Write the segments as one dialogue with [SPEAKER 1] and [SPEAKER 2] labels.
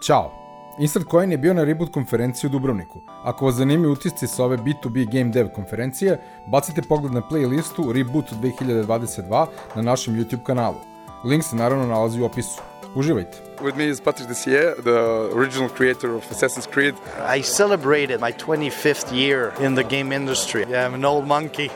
[SPEAKER 1] Ćao! Insert Coin je bio na Reboot konferenciji u Dubrovniku. Ako vas zanimaju utisci sa ove B2B Game Dev konferencije, bacite pogled na playlistu Reboot 2022 na našem YouTube kanalu. Link se naravno nalazi u opisu. Uživajte!
[SPEAKER 2] With me is Patrick Dessier, the original creator of Assassin's Creed.
[SPEAKER 3] I celebrated my 25th year in the game industry. Yeah, I'm an old monkey.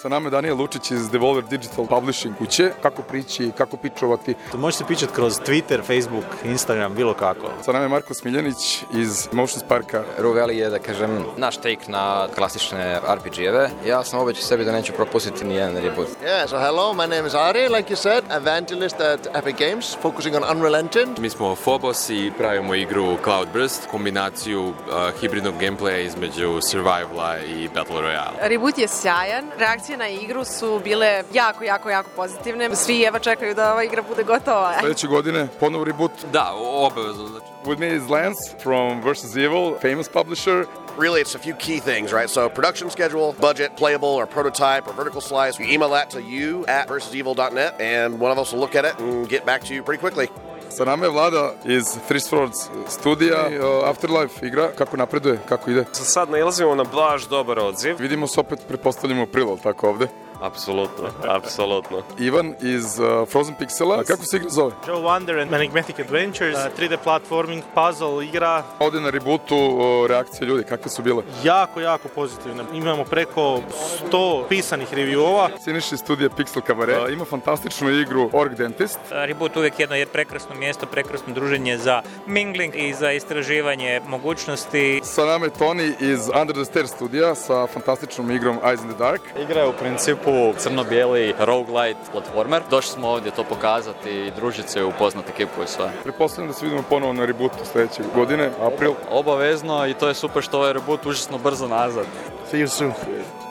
[SPEAKER 2] Sa nama je Daniel Lučić iz Devolver Digital Publishing kuće. Kako prići, kako pičovati.
[SPEAKER 4] To Može se pičat kroz Twitter, Facebook, Instagram, bilo kako.
[SPEAKER 2] Sa nama je Marko Smiljanić iz Motion Parka.
[SPEAKER 5] Ruveli je, da kažem, naš take na klasične RPG-eve. Ja sam obećao sebi da neću propustiti nijedan reboot.
[SPEAKER 6] Yeah, so hello, my name is Ari, like you said, evangelist at Epic Games, focusing on Unrelented.
[SPEAKER 7] Mi smo Phobos i pravimo igru Cloud Burst, kombinaciju a, hibridnog gameplaya između survivala i battle royale.
[SPEAKER 8] Reboot je sjajan, reakcije na igru su bile jako, jako, jako pozitivne. Svi jeva čekaju da ova igra bude gotova.
[SPEAKER 2] Sljedeće godine ponovo reboot.
[SPEAKER 7] Da, obavezno, znači.
[SPEAKER 2] With me is Lance from Versus Evil, famous publisher.
[SPEAKER 9] Really, it's a few key things, right? So, production schedule, budget, playable, or prototype, or vertical slice. You email that to you at versusevil.net, and one of us will look at it and get back to you pretty quickly.
[SPEAKER 2] Sa nama je Vlada iz Three Swords studija. I, o, uh, Afterlife igra, kako napreduje, kako ide.
[SPEAKER 10] Za sad nailazimo na blaž dobar odziv.
[SPEAKER 2] Vidimo se opet, pretpostavljamo april, ali tako ovde.
[SPEAKER 10] Apsolutno, apsolutno.
[SPEAKER 2] Ivan iz uh, Frozen Pixela. A kako se igra zove?
[SPEAKER 11] Joe Wonder and Enigmatic Adventures, uh, 3D platforming, puzzle igra,
[SPEAKER 2] Ovde na rebootu o, reakcije ljudi, kakve su bile?
[SPEAKER 11] jako, jako pozitivna. Imamo preko 100 pisanih reviewova.
[SPEAKER 2] Siniš iz studija Pixel Cabaret. A, Uh, ima fantastičnu igru Org Dentist.
[SPEAKER 12] Reboot uvijek jedno je prekrasno mjesto, prekrasno druženje za mingling i za istraživanje mogućnosti.
[SPEAKER 2] Sa nama je Toni iz Under the Stairs studija sa fantastičnom igrom Eyes in the Dark.
[SPEAKER 13] Igra je u principu crno-bijeli roguelite platformer. Došli smo ovdje to pokazati i družiti se i upoznati ekipu i sve.
[SPEAKER 2] Pretpostavljam da se vidimo ponovo na rebootu sljedeće godine, april.
[SPEAKER 13] Obavezno i to je super što ovaj reboot užasno brzo nazad.
[SPEAKER 3] See you soon.